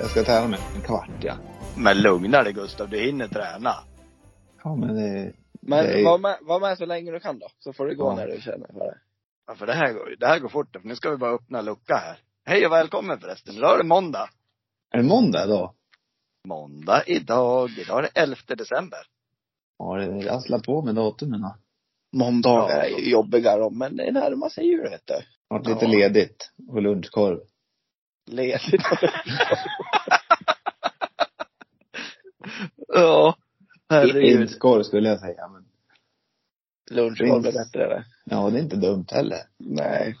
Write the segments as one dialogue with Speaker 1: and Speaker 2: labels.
Speaker 1: Jag ska träna med en kvart, ja.
Speaker 2: Men lugna dig Gustav, du hinner träna.
Speaker 1: Ja, men det...
Speaker 3: Men
Speaker 1: det är-
Speaker 3: var, med, var med så länge du kan då, så får det gå
Speaker 1: Ja.
Speaker 3: när du känner för det.
Speaker 2: Ja, för det här går, det här går fort för nu ska vi bara öppna en lucka här. Hej och välkommen förresten. Idag är det måndag.
Speaker 1: Är det måndag då?
Speaker 2: Måndag idag. Idag är det 11 december.
Speaker 1: Ja, det rasslar på med datumen. då.
Speaker 3: Måndagar
Speaker 2: Ja.
Speaker 3: är ju jobbiga då, men det närmar sig jul vet du.
Speaker 1: Vart lite
Speaker 2: Ja.
Speaker 1: ledigt. Och lunchkorv.
Speaker 3: Ledigt.
Speaker 2: Ja. Herregud.
Speaker 1: Prinskorv skulle jag säga. Men,
Speaker 3: Lunchkorv är
Speaker 1: Prins.
Speaker 3: bättre eller?
Speaker 1: ja, det är inte dumt heller.
Speaker 3: Nej.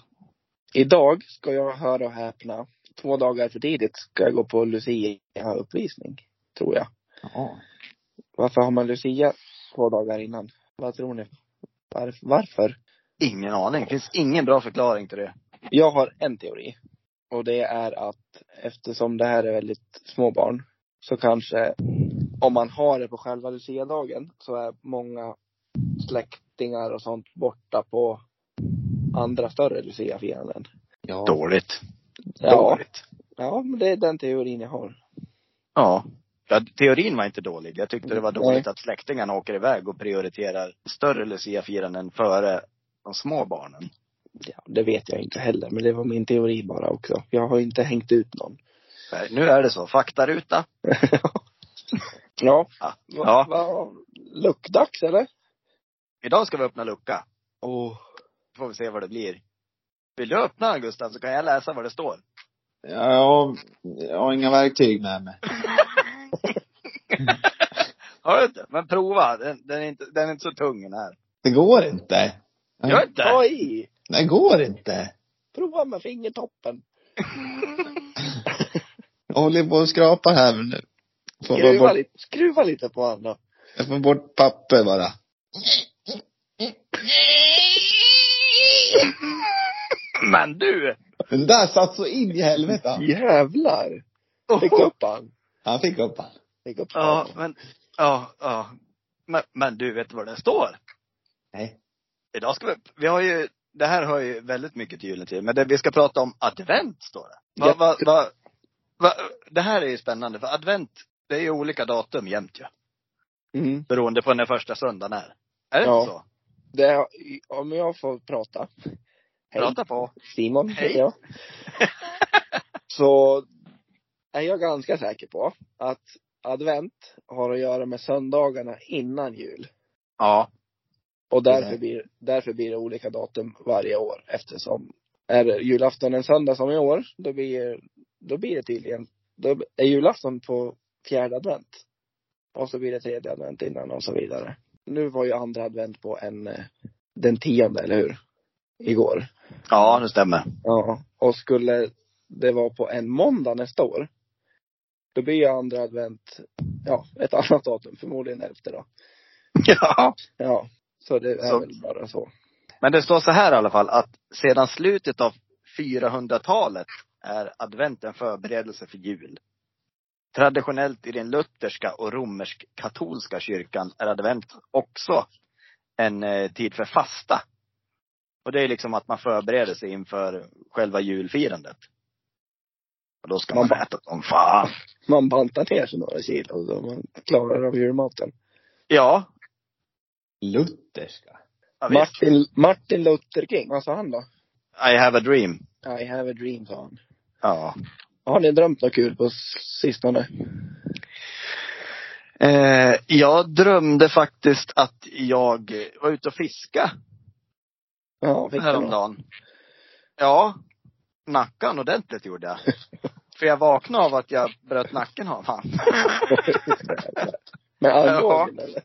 Speaker 3: Idag ska jag höra och häpna. Två dagar för tidigt ska jag gå på Lucia-uppvisning, tror jag.
Speaker 1: Ja.
Speaker 3: Varför har man Lucia två dagar innan? Vad tror ni? Varf- varför?
Speaker 2: Ingen aning. Finns ingen bra förklaring till det.
Speaker 3: Jag har en teori. Och det är att eftersom det här är väldigt små barn så kanske om man har det på själva luciadagen så är många släktingar och sånt borta på andra större luciafiranden.
Speaker 1: Ja.
Speaker 2: Dåligt.
Speaker 3: Ja,
Speaker 2: Dåligt.
Speaker 3: ja, men det är den teorin jag har.
Speaker 2: Ja. ja. Teorin var inte dålig. Jag tyckte det var
Speaker 3: Nej.
Speaker 2: dåligt att släktingarna åker iväg och prioriterar större luciafiranden före de små barnen.
Speaker 3: Ja, det vet jag inte heller, men det var min teori bara också. Jag har inte hängt ut någon.
Speaker 2: Nej, Nu är det så. Faktaruta.
Speaker 3: ja,
Speaker 2: Ja.
Speaker 3: va, luckdags eller?
Speaker 2: Idag ska vi öppna lucka.
Speaker 3: Oh.
Speaker 2: Får vi se vad det blir. Vill du öppna den, Gustav så kan jag läsa vad det står.
Speaker 1: Ja, jag, jag har inga verktyg med mig.
Speaker 2: Har du inte? Men prova. Den, den, är, inte, den är inte så tung den här.
Speaker 1: Det går inte. Nej,
Speaker 2: Gör inte?
Speaker 3: Ta i!
Speaker 1: Det går inte.
Speaker 3: Prova med fingertoppen.
Speaker 1: Jag håller på och skrapar här men nu. Får jag,
Speaker 3: Skruva
Speaker 1: bort,
Speaker 3: lite, skruva lite på honom.
Speaker 1: jag får bort papper bara.
Speaker 2: Men du!
Speaker 1: Den där satt så in i helvete. han.
Speaker 3: Jävlar! Fick
Speaker 2: Oho.
Speaker 3: upp han.
Speaker 1: Han fick upp han.
Speaker 3: Fick upp
Speaker 2: Ja,
Speaker 3: han.
Speaker 2: men, ja, ja. Men, men du, vet du vad den står?
Speaker 1: Nej.
Speaker 2: Idag ska vi, vi har ju, det här hör ju väldigt mycket till julen till, men det, vi ska prata om advent, står det. Va, va, va, va, det här är ju spännande, för advent, det är ju olika datum jämt ju.
Speaker 3: Mm.
Speaker 2: Beroende på när första söndagen är. Är det
Speaker 3: Ja.
Speaker 2: inte så?
Speaker 3: Det är, om jag får prata. Hej,
Speaker 2: Prata på.
Speaker 3: Simon
Speaker 2: Hej.
Speaker 3: heter jag. Så är jag ganska säker på att advent har att göra med söndagarna innan jul.
Speaker 2: Ja.
Speaker 3: Och därför
Speaker 1: Nej.
Speaker 3: blir, därför blir det olika datum varje år eftersom är det julafton en söndag som i år, då blir, då blir det tydligen, då är julafton på fjärde advent. Och så blir det tredje advent innan och så vidare. Nu var ju andra advent på en, eh, den tionde, eller hur? Igår.
Speaker 2: Ja, det stämmer.
Speaker 3: Ja. Och skulle det vara på en måndag nästa år, då blir ju andra advent, ja, ett annat datum, förmodligen elfte då.
Speaker 2: Ja.
Speaker 3: Ja. Så det är
Speaker 2: Så-
Speaker 3: väl bara så.
Speaker 2: Men det står så här i alla fall, att sedan slutet av 400-talet är advent en förberedelse för jul. Traditionellt i den lutherska och romersk-katolska kyrkan är advent också en eh, tid för fasta. Och det är liksom att man förbereder sig inför själva julfirandet. Och då ska man
Speaker 3: Man-
Speaker 2: äta som fan.
Speaker 3: man bantar ner sig några kilo så man klarar av julmaten.
Speaker 2: Ja,
Speaker 1: Lutherska.
Speaker 2: ja visst.
Speaker 3: Martin, Martin Luther King, vad sa han då?
Speaker 2: I have a dream.
Speaker 3: I have a dream, sa han.
Speaker 2: Ja.
Speaker 3: Har ni drömt något kul på sistone?
Speaker 2: Eh, jag drömde faktiskt att jag var ute och fiska
Speaker 3: Ja, fick ni något?
Speaker 2: häromdagen. Ja, nackan ordentligt gjorde jag. För jag vaknade av att jag bröt nacken av han.
Speaker 3: Med armbågen eller?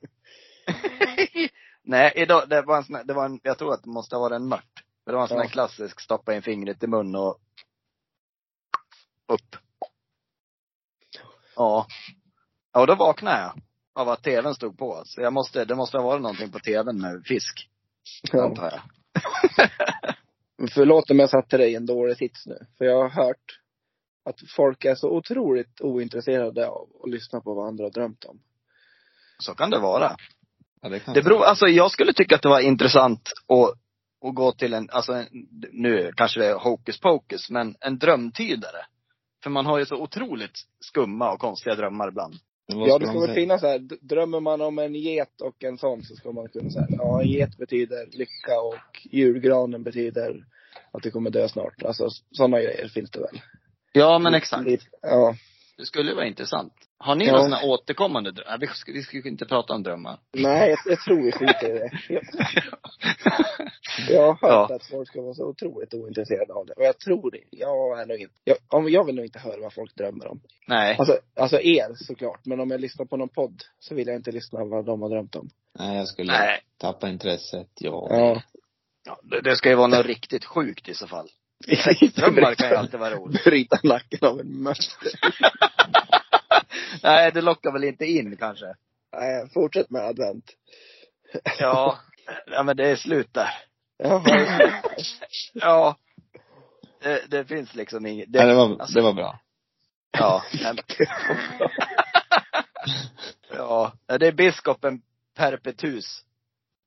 Speaker 2: Nej, idag, det var en sån här, det var en, jag tror att det måste ha varit en mört. Men det var en sån här
Speaker 3: Ja.
Speaker 2: klassisk, stoppa in fingret i munnen och upp. Ja. Ja, och då vaknade jag av att tvn stod på. Så jag måste, det måste ha varit någonting på tvn med fisk,
Speaker 3: Ja.
Speaker 2: antar jag.
Speaker 3: Förlåt om jag satte dig i en dålig sits nu. För jag har hört att folk är så otroligt ointresserade av att lyssna på vad andra har drömt om.
Speaker 2: Så kan det vara.
Speaker 1: Ja, det kan
Speaker 2: Det beror, alltså jag skulle tycka att det var intressant att, att gå till en, alltså en, nu kanske det är hokus pokus, men en drömtydare. För man har ju så otroligt skumma och konstiga drömmar ibland.
Speaker 1: Men vad
Speaker 3: Ja, det
Speaker 1: ska
Speaker 3: ska
Speaker 1: de
Speaker 3: väl
Speaker 1: säga?
Speaker 3: finnas så här. d- Drömmer man om en get och en sån så ska man kunna säga ja, en get betyder lycka och julgranen betyder att det kommer dö snart. Alltså sådana grejer finns det väl.
Speaker 2: Ja, men exakt.
Speaker 3: Lite- Ja.
Speaker 2: Det skulle vara intressant. Har ni
Speaker 3: Ja.
Speaker 2: några sådana återkommande drömmar? Vi ska, vi ska ju inte prata om drömmar.
Speaker 3: Nej, jag, jag tror vi skiter i det. Jag, jag har hört
Speaker 2: Ja.
Speaker 3: att folk ska vara så otroligt ointresserade av det. Och jag tror det. Jag är nog inte, jag, om- jag vill nog inte höra vad folk drömmer om.
Speaker 2: Nej.
Speaker 3: Alltså, alltså er såklart. Men om jag lyssnar på någon podd så vill jag inte lyssna på vad de har drömt om.
Speaker 1: Nej, jag skulle
Speaker 2: Nej.
Speaker 1: tappa intresset. Ja.
Speaker 3: Ja.
Speaker 2: Ja, det- det ska ju vara något riktigt sjukt i så fall. Drömmar kan ju alltid vara roligt.
Speaker 3: Bryta nacken av en mört.
Speaker 2: Nej, det lockar väl inte in kanske.
Speaker 3: Nej, fortsätt med advent.
Speaker 2: Ja. Ja, men det är slut där.
Speaker 3: Jaha.
Speaker 2: Ja. Det, det finns liksom inget.
Speaker 1: Det, Nej, det, var,
Speaker 2: alltså-
Speaker 1: det var bra.
Speaker 2: Ja. men- ja. Det är biskopen Perpetus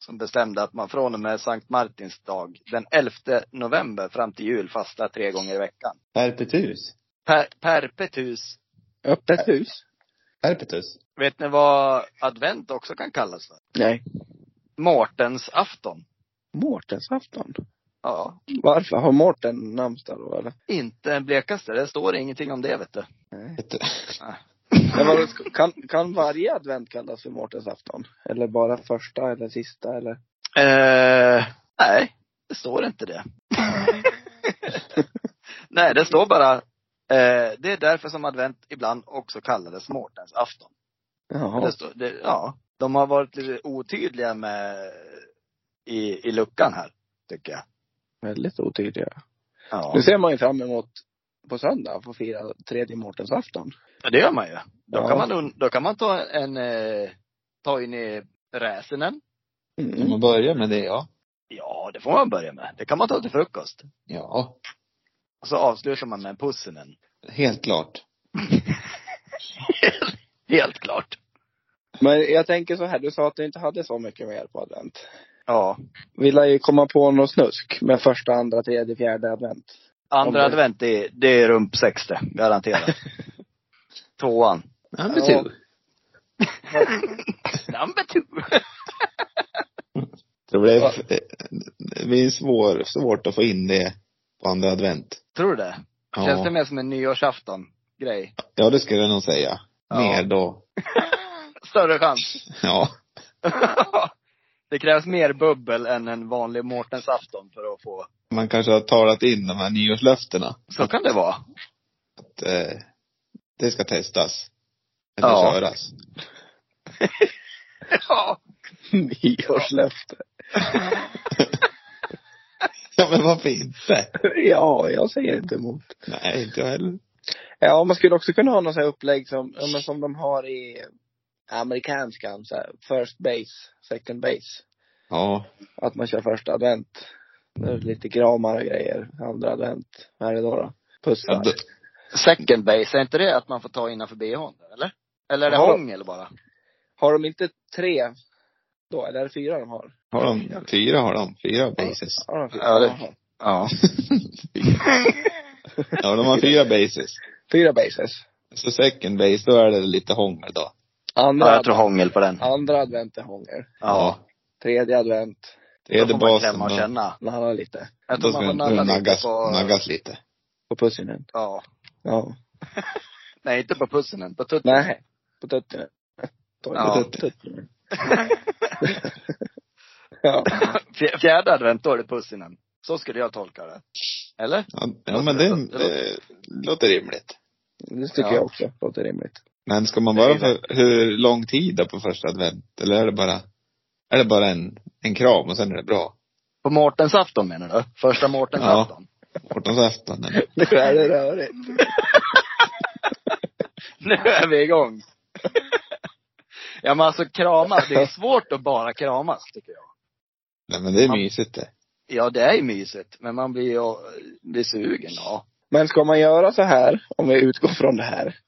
Speaker 2: som bestämde att man från och med Sankt Martins dag den 11 november fram till jul fastar tre gånger i veckan.
Speaker 1: Perpetus.
Speaker 2: Per, perpetus.
Speaker 3: Öppet hus?
Speaker 1: Perpetus.
Speaker 2: Vet ni vad advent också kan kallas för?
Speaker 3: Nej.
Speaker 2: Mårtens afton.
Speaker 3: Mårtensafton?
Speaker 2: Ja.
Speaker 3: Varför? Har Mårten namnsdag då eller?
Speaker 2: Inte en blekaste. Det står ingenting om det vet du.
Speaker 3: Nej.
Speaker 1: Vet du?
Speaker 3: Men vadå, sk- kan, kan varje advent kallas för Mårtensafton? Eller bara första eller sista eller?
Speaker 2: Eh, nej, det står inte det. nej, det står bara, eh, det är därför som advent ibland också kallades Mårtens afton. Det
Speaker 3: Jaha.
Speaker 2: står, det, ja, de har varit lite otydliga med, i, i luckan här, tycker jag.
Speaker 3: Väldigt otydliga.
Speaker 2: Ja,
Speaker 3: Nu ser man ju fram emot på söndag få fira tredje Mårtensafton.
Speaker 2: Ja, det gör man ju. Då,
Speaker 3: Ja.
Speaker 2: kan, man, und- då kan man ta en, eh, ta in i räsenen.
Speaker 1: Om
Speaker 3: Mm.
Speaker 1: man börjar med det, ja.
Speaker 2: Ja, det får man börja med. Det kan man ta till frukost.
Speaker 1: Ja.
Speaker 2: Och så avslutar man med pussinen.
Speaker 1: Helt klart.
Speaker 2: Helt klart.
Speaker 3: Men jag tänker så här, du sa att du inte hade så mycket mer på advent.
Speaker 2: Ja.
Speaker 3: Vi lär ju komma på någon snusk med första, andra, tredje, fjärde advent.
Speaker 2: Andra
Speaker 3: Om det-
Speaker 2: advent, det är, det är rump 60, garanterat. Tvåan.
Speaker 1: Number
Speaker 3: Ja.
Speaker 1: two.
Speaker 2: Number two.
Speaker 1: Det blev,
Speaker 3: Ja.
Speaker 1: det blir svår, svårt att få in det på andra advent.
Speaker 2: Tror du det? Känns det
Speaker 1: Ja,
Speaker 2: mer som en nyårsafton-grej?
Speaker 1: ja det skulle jag nog säga.
Speaker 2: Ja.
Speaker 1: Mer då.
Speaker 2: Större chans.
Speaker 1: Ja.
Speaker 2: det krävs mer bubbel än en vanlig Mårtensafton för att få.
Speaker 1: Man kanske har talat in de här nyårslöftena.
Speaker 2: Så kan det vara.
Speaker 1: Att, eh, det ska testas. Eller
Speaker 2: Ja.
Speaker 1: köras.
Speaker 2: Ja.
Speaker 3: Nyårslöfte.
Speaker 1: Ja men varför inte?
Speaker 3: Ja, jag säger inte emot.
Speaker 1: Nej, inte jag heller.
Speaker 3: Ja, man skulle också kunna ha något så här upplägg som, ja, men som de har i amerikanskan, så här, first base, second base.
Speaker 1: Ja.
Speaker 3: Att man kör första advent. Det är lite kramar och grejer. Andra advent. Vad är det då? då?
Speaker 1: ja
Speaker 3: Pussar.
Speaker 1: då,
Speaker 2: Second base, är inte det att man får ta innanför bhn? Eller? Eller är det
Speaker 3: Ja.
Speaker 2: hångel bara?
Speaker 3: Har de inte tre då? Eller är det fyra de har?
Speaker 1: har de, fyra har de. Fyra bases.
Speaker 3: Har de fyra?
Speaker 2: Ja, det-
Speaker 3: Jaha.
Speaker 2: Ja.
Speaker 1: Ja, de har fyra bases.
Speaker 3: Fyra bases.
Speaker 1: Så second base, då är det lite hångel då.
Speaker 3: Andra,
Speaker 2: ja jag tror hångel på den.
Speaker 3: andra advent är hångel.
Speaker 2: Ja.
Speaker 3: Tredje advent,
Speaker 1: Det är
Speaker 2: Då
Speaker 1: det
Speaker 2: får man
Speaker 1: basen
Speaker 2: klämma och
Speaker 1: då.
Speaker 2: känna.
Speaker 3: nalla lite.
Speaker 2: Jag
Speaker 1: Då
Speaker 2: tror
Speaker 1: ska
Speaker 2: man får
Speaker 1: den
Speaker 2: nalla lite
Speaker 1: naggas,
Speaker 2: på,
Speaker 1: naggas lite.
Speaker 3: På pussinen.
Speaker 2: ja.
Speaker 3: Ja.
Speaker 2: Nej, inte på pussinen. På tutten.
Speaker 3: Nej. På tutten. Ta inte
Speaker 2: Ja.
Speaker 3: tutten. tutten. ja.
Speaker 2: Fj- Fjärde advent, då är det pussinen. Så skulle jag tolka det. Eller?
Speaker 1: Ja, ja men det,
Speaker 2: Det låter-
Speaker 1: eh, låter rimligt.
Speaker 3: Det tycker
Speaker 2: Ja.
Speaker 3: jag också låter rimligt.
Speaker 1: Men ska man
Speaker 2: Det
Speaker 1: vara
Speaker 2: är det.
Speaker 1: för, hur lång tid då på första advent? Eller är det bara, är det bara en, en kram och sen är det bra?
Speaker 2: På Mårtensafton menar du? Första Mårtensafton?
Speaker 1: Mortonsafton eller?
Speaker 3: Nu är det rörigt.
Speaker 2: Nu är vi igång! ja men alltså kramar, det är svårt att bara kramas tycker jag.
Speaker 1: Nej men det är
Speaker 2: Ja.
Speaker 1: mysigt det.
Speaker 2: Ja det är ju mysigt, men man blir ju, eh, blir sugen ja.
Speaker 3: Men ska man göra så här, om vi utgår från det här.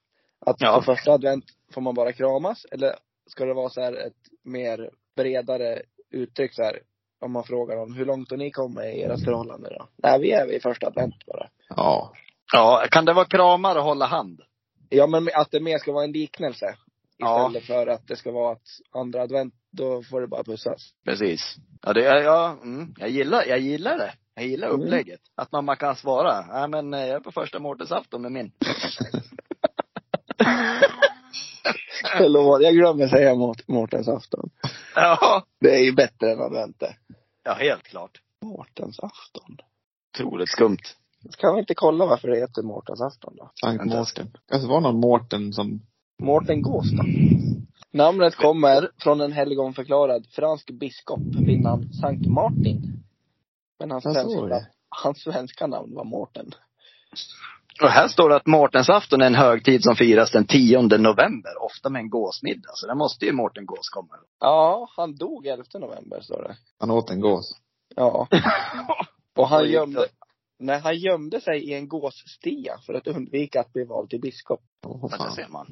Speaker 3: Att
Speaker 2: Ja.
Speaker 3: på första advent får man bara kramas eller ska det vara så här ett mer bredare uttryck så här. Om man frågar dem, hur långt har ni kommit i ert förhållande då? Nej vi är vid första advent bara.
Speaker 1: Ja.
Speaker 2: Ja, kan det vara kramar och hålla hand?
Speaker 3: Ja, men att det mer ska vara en liknelse.
Speaker 2: Ja.
Speaker 3: Istället för att det ska vara att andra advent, då får det bara pussas.
Speaker 2: Precis. Ja, det, ja, ja mm, jag, gillar, jag gillar det. Jag gillar
Speaker 3: Mm.
Speaker 2: upplägget. Att man, man kan svara, nej men eh, jag är på första mårtensafton med min.
Speaker 3: Förlåt, jag glömde säga Mårt- Mårtensafton.
Speaker 2: ja.
Speaker 3: Det är ju bättre än advent eh. det.
Speaker 2: ja, helt klart.
Speaker 3: Mårtensafton.
Speaker 2: Otroligt skumt.
Speaker 3: Kan vi inte kolla varför det heter Mårtensafton då?
Speaker 1: Sankt
Speaker 2: Vänta.
Speaker 1: Mårten. Kanske Alltså, var någon Mårten som,
Speaker 3: Mårten Gås då? Namnet kommer från en helgonförklarad fransk biskop vid namn Sankt Martin. Men hans
Speaker 1: Ja, så är
Speaker 3: svenska,
Speaker 1: det.
Speaker 3: hans svenska namn var Mårten.
Speaker 2: Och här står det att Mårtensafton är en högtid som firas den 10 november, ofta med en gåsmiddag. Så där måste ju Mårten Gås komma.
Speaker 3: Ja, han dog 11 november står det.
Speaker 1: han åt en gås.
Speaker 3: Ja. Och
Speaker 2: Oj,
Speaker 3: han
Speaker 2: då.
Speaker 3: gömde, nej, han gömde sig i en gåsstia för att undvika att bli vald till biskop.
Speaker 1: Åh
Speaker 2: Ja, där
Speaker 1: fan.
Speaker 2: ser man.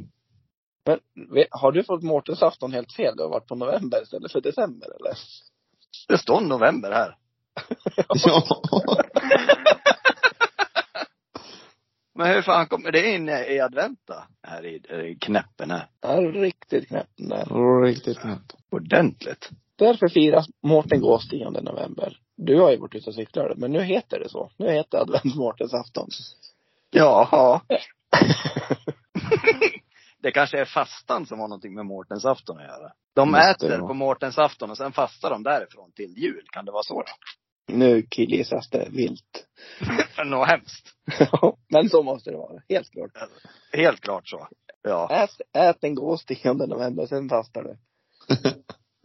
Speaker 3: Men ve- har du fått Mårtensafton helt fel? Du har varit på november istället för december eller?
Speaker 2: Det står november här.
Speaker 1: Ja.
Speaker 2: Men hur fan kommer det in i advent då? Här i, i knäppen här.
Speaker 3: Ja, riktigt knäppt den där.
Speaker 1: Riktigt knäppt.
Speaker 2: Ordentligt.
Speaker 3: Därför firas Mårten Gås 10 november. Du har ju varit ute och cyklar, men nu heter det så. Nu heter det advent Mårtensafton.
Speaker 2: Jaha. det kanske är fastan som har någonting med Mårtensafton att göra. De
Speaker 1: Måste det
Speaker 2: äter
Speaker 1: vara.
Speaker 2: på Mårtensafton och sen fastar de därifrån till jul. Kan det vara så?
Speaker 3: Nu killgissas det vilt.
Speaker 2: då? Något hemskt.
Speaker 3: men så måste det vara, helt klart.
Speaker 2: Helt klart så. Ja.
Speaker 3: Ät, ät en gås 10 november, sen fastar du.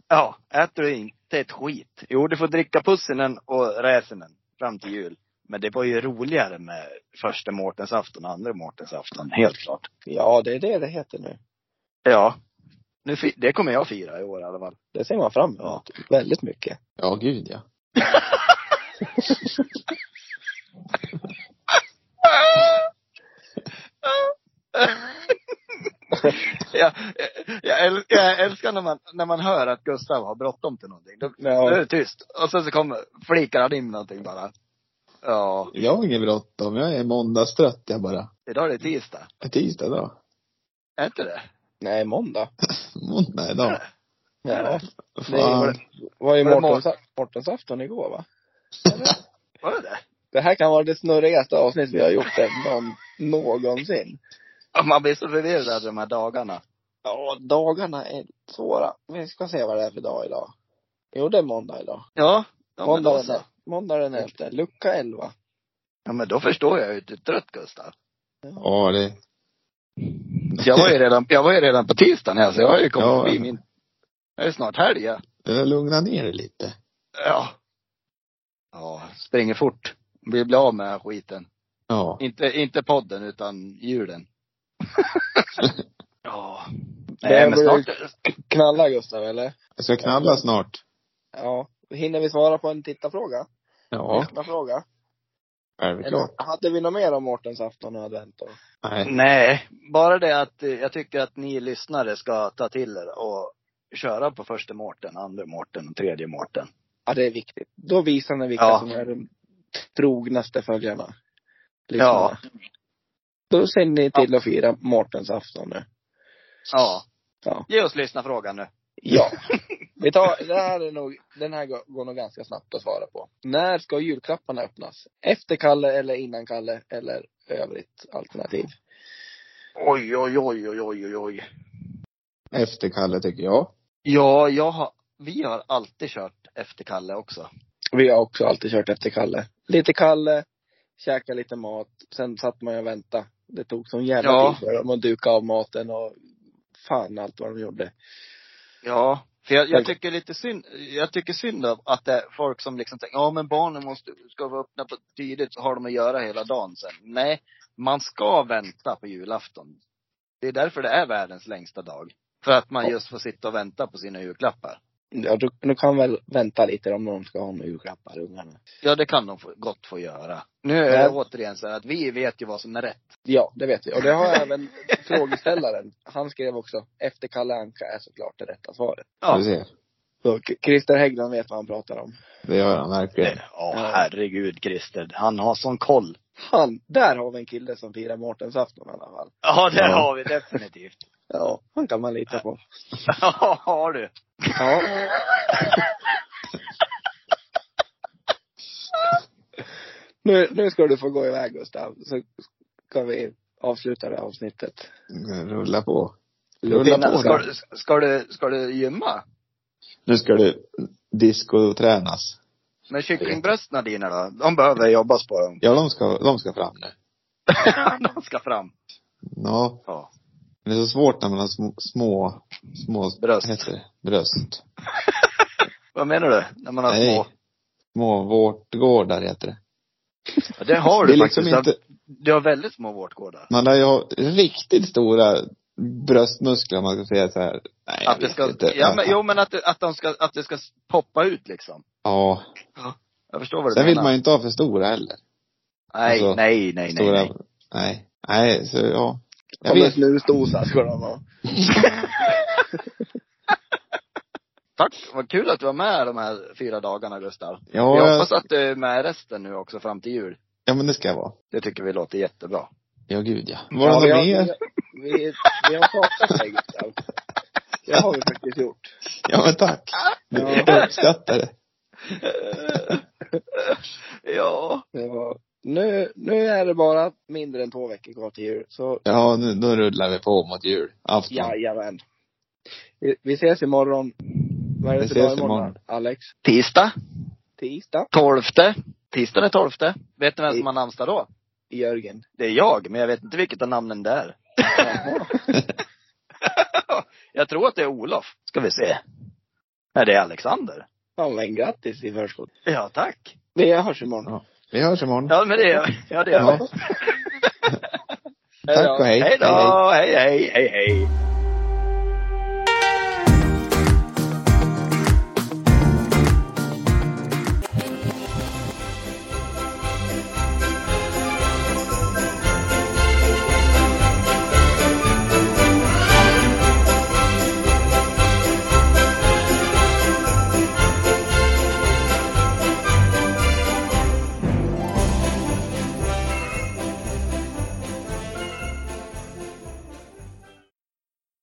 Speaker 2: Ja, äter du inte ett skit. Jo, du får dricka pussinen och räsinen fram till jul. Men det var ju roligare med första Mårtensafton och andra Mårtensafton, helt klart.
Speaker 3: Ja, det är det det heter nu.
Speaker 2: Ja. Nu, fi- det kommer jag fira i år i alla fall.
Speaker 3: Det ser man fram emot väldigt mycket.
Speaker 1: Ja, gud ja.
Speaker 2: jag, jag, äl, jag älskar när man, när man hör att Gustav har bråttom till någonting. Då, då är
Speaker 3: Ja.
Speaker 2: det tyst. Och sen så kommer, flikar han in någonting bara. Ja,
Speaker 1: Jag har inget bråttom. Jag är måndagstrött jag bara.
Speaker 2: idag är det tisdag.
Speaker 1: Är tisdag då?
Speaker 2: Är inte det?
Speaker 3: Nej, måndag.
Speaker 1: Måndag idag.
Speaker 3: Ja. Det
Speaker 1: Fan.
Speaker 3: var, var ju
Speaker 2: Var det
Speaker 3: Mårtens- Mårtensafton igår va?
Speaker 2: Var det det?
Speaker 3: Det här kan vara det snurrigaste avsnitt vi har gjort än någon, någonsin.
Speaker 2: Ja, Man blir så förvirrad de här dagarna.
Speaker 3: Ja, dagarna är svåra. Vi ska se vad det är för dag idag. Jo, det är måndag idag.
Speaker 2: Ja. Ja, men
Speaker 3: Måndag
Speaker 2: då,
Speaker 3: den,
Speaker 2: så.
Speaker 3: el- måndag den 11. Lucka 11.
Speaker 2: ja men då förstår jag ju att du är trött Gustav.
Speaker 1: Ja, det.
Speaker 2: Jag var ju redan, jag var ju redan på tisdagen här så jag har ju kommit
Speaker 1: Ja.
Speaker 2: förbi min.. Jag är snart helg ja.
Speaker 1: Jag lugnar ner dig lite.
Speaker 2: Ja. Ja, springer fort. Vi blir av med den här skiten.
Speaker 1: Ja.
Speaker 2: Inte, inte podden utan julen. ja.
Speaker 3: Det
Speaker 2: Nej men
Speaker 3: börjar-
Speaker 2: snart,
Speaker 3: Knalla Gustav, eller?
Speaker 1: Jag ska knalla snart.
Speaker 3: Ja. Hinner vi svara på en tittarfråga?
Speaker 1: Ja,
Speaker 3: Lyssnarfråga?
Speaker 1: självklart.
Speaker 3: Eller hade vi något mer om Mårtensafton och advent då?
Speaker 2: Mm.
Speaker 1: Nej.
Speaker 2: Nej, bara det att eh, jag tycker att ni lyssnare ska ta till er och köra på första Mårten, andra Mårten och tredje Mårten.
Speaker 3: Ja, det är viktigt. Då visar ni vilka
Speaker 2: Ja.
Speaker 3: som är de trognaste följarna.
Speaker 2: Ja.
Speaker 3: Lyssnarna. Då ser ni till att fira Mårtensafton nu.
Speaker 2: Ja.
Speaker 3: Ja.
Speaker 2: Ge oss lyssna frågan nu.
Speaker 3: Ja. Vi tar, det här är nog, den här går, går nog ganska snabbt att svara på. När ska julklapparna öppnas? Efter Kalle eller innan Kalle eller övrigt alternativ?
Speaker 2: Oj, oj, oj, oj, oj, oj, oj.
Speaker 1: Efter Kalle tycker jag.
Speaker 2: Ja, jag har, vi har alltid kört efter Kalle också.
Speaker 3: Vi har också alltid kört efter Kalle. Lite Kalle, käka lite mat. Sen satt man ju och väntade. Det tog som jävla
Speaker 2: Ja.
Speaker 3: tid för dem att duka av maten och fan allt vad de gjorde.
Speaker 2: Ja. För jag, jag
Speaker 3: Tack.
Speaker 2: tycker lite synd, jag tycker synd om att det är folk som liksom tänker, ja men barnen måste, ska vara öppna på tidigt så har de att göra hela dagen sen. Nej, man ska vänta på julafton. Det är därför det är världens längsta dag. För att man
Speaker 3: Ja.
Speaker 2: just får sitta och vänta på sina julklappar.
Speaker 3: Ja, du, du kan väl vänta lite om någon ska ha några julklappar, ungarna.
Speaker 2: Ja, det kan de få, gott få göra. Nu är
Speaker 3: Ja.
Speaker 2: det återigen så här att vi vet ju vad som är rätt.
Speaker 3: Ja, det vet vi. Och det har även frågeställaren. Han skrev också, efter Kalle Anka är såklart det rätta svaret.
Speaker 1: Ja.
Speaker 2: Ja.
Speaker 1: Du ser.
Speaker 3: Så K- Christer Hägglund vet vad han pratar om.
Speaker 1: Det gör han verkligen.
Speaker 2: Ja, herregud Christer. Han har sån koll.
Speaker 3: Han, där har vi en kille som firar Mårtensafton i alla fall.
Speaker 2: Ja, det
Speaker 1: Ja.
Speaker 2: har vi definitivt.
Speaker 3: Ja, han kan man lita på.
Speaker 2: Ja, har du.
Speaker 3: Ja. nu, nu ska du få gå iväg Gustav, så ska vi avsluta det här avsnittet.
Speaker 1: Rulla på. Rulla
Speaker 2: Innan,
Speaker 1: på.
Speaker 2: ska,
Speaker 1: då.
Speaker 2: du- ska, du, ska du gymma?
Speaker 1: Nu ska du disco-tränas.
Speaker 2: Med kycklingbrösten dina då? De behöver jobbas på. Dem.
Speaker 1: Ja, de ska, de ska fram nu.
Speaker 2: de ska fram.
Speaker 1: Ja.
Speaker 2: Ja.
Speaker 1: Men det är så svårt när man har små, små, små
Speaker 2: Bröst.
Speaker 1: vad Heter det? Bröst.
Speaker 2: Vad menar du? När man har små?
Speaker 1: Små vårtgårdar heter det.
Speaker 2: Ja, det har
Speaker 1: det
Speaker 2: du
Speaker 1: är
Speaker 2: faktiskt.
Speaker 1: liksom inte,
Speaker 2: Du har väldigt små vårtgårdar.
Speaker 1: man har ju ha riktigt stora bröstmuskler om man ska säga så här. Nej, jag
Speaker 2: Att det
Speaker 1: vet
Speaker 2: ska,
Speaker 1: inte.
Speaker 2: ja, men, jo men att, det- att de ska, att det ska poppa ut liksom.
Speaker 1: Ja.
Speaker 2: Jag förstår vad du
Speaker 1: Sen vill
Speaker 2: menar.
Speaker 1: man ju inte ha för stora heller.
Speaker 2: nej,
Speaker 1: alltså,
Speaker 2: nej, nej, nej,
Speaker 1: stora,
Speaker 2: nej.
Speaker 1: nej. Nej, så ja. Jag
Speaker 3: Som en
Speaker 1: vet.
Speaker 3: snusdosa ska de ha.
Speaker 2: Tack, vad kul att du var med de här fyra dagarna Gustav.
Speaker 1: Ja,
Speaker 2: Vi
Speaker 1: jag,
Speaker 2: hoppas att du är med resten nu också fram till jul.
Speaker 1: ja men det ska jag vara.
Speaker 2: Det tycker vi låter jättebra.
Speaker 1: Ja, gud ja. Var det något
Speaker 3: vi, har,
Speaker 1: mer?
Speaker 3: vi, vi har pratat dig Gustav. Det har vi faktiskt gjort.
Speaker 1: Ja, men tack.
Speaker 3: Ja.
Speaker 1: Jag uppskattar det.
Speaker 2: Eh, ja.
Speaker 3: Det var, nu, nu är det bara mindre än två veckor kvar till jul. Så
Speaker 1: Ja, nu, nu rullar vi på mot jul. Afton.
Speaker 3: jajamän. Vi, vi ses imorgon. Vad är
Speaker 1: Vi
Speaker 3: det för dag
Speaker 1: ses imorgon.
Speaker 3: imorgon? Alex?
Speaker 2: Tisdag,
Speaker 3: Tisdag?
Speaker 2: 12. Tisdag den 12. Vet ni vem som har namnsdag då?
Speaker 3: Jörgen.
Speaker 2: Det är jag, men jag vet inte vilket av namnen det är.
Speaker 3: Jaha.
Speaker 2: jag tror att det är Olof. Ska vi se. Nej, det är Alexander.
Speaker 3: Fan men grattis i förskott.
Speaker 2: Ja, tack.
Speaker 3: Vi hörs imorgon.
Speaker 1: Vi hörs imorgon.
Speaker 2: Ja, men det är Ja, det är jag.
Speaker 1: Tack och hej.
Speaker 2: Hej då. Hej, hej, hej, hej.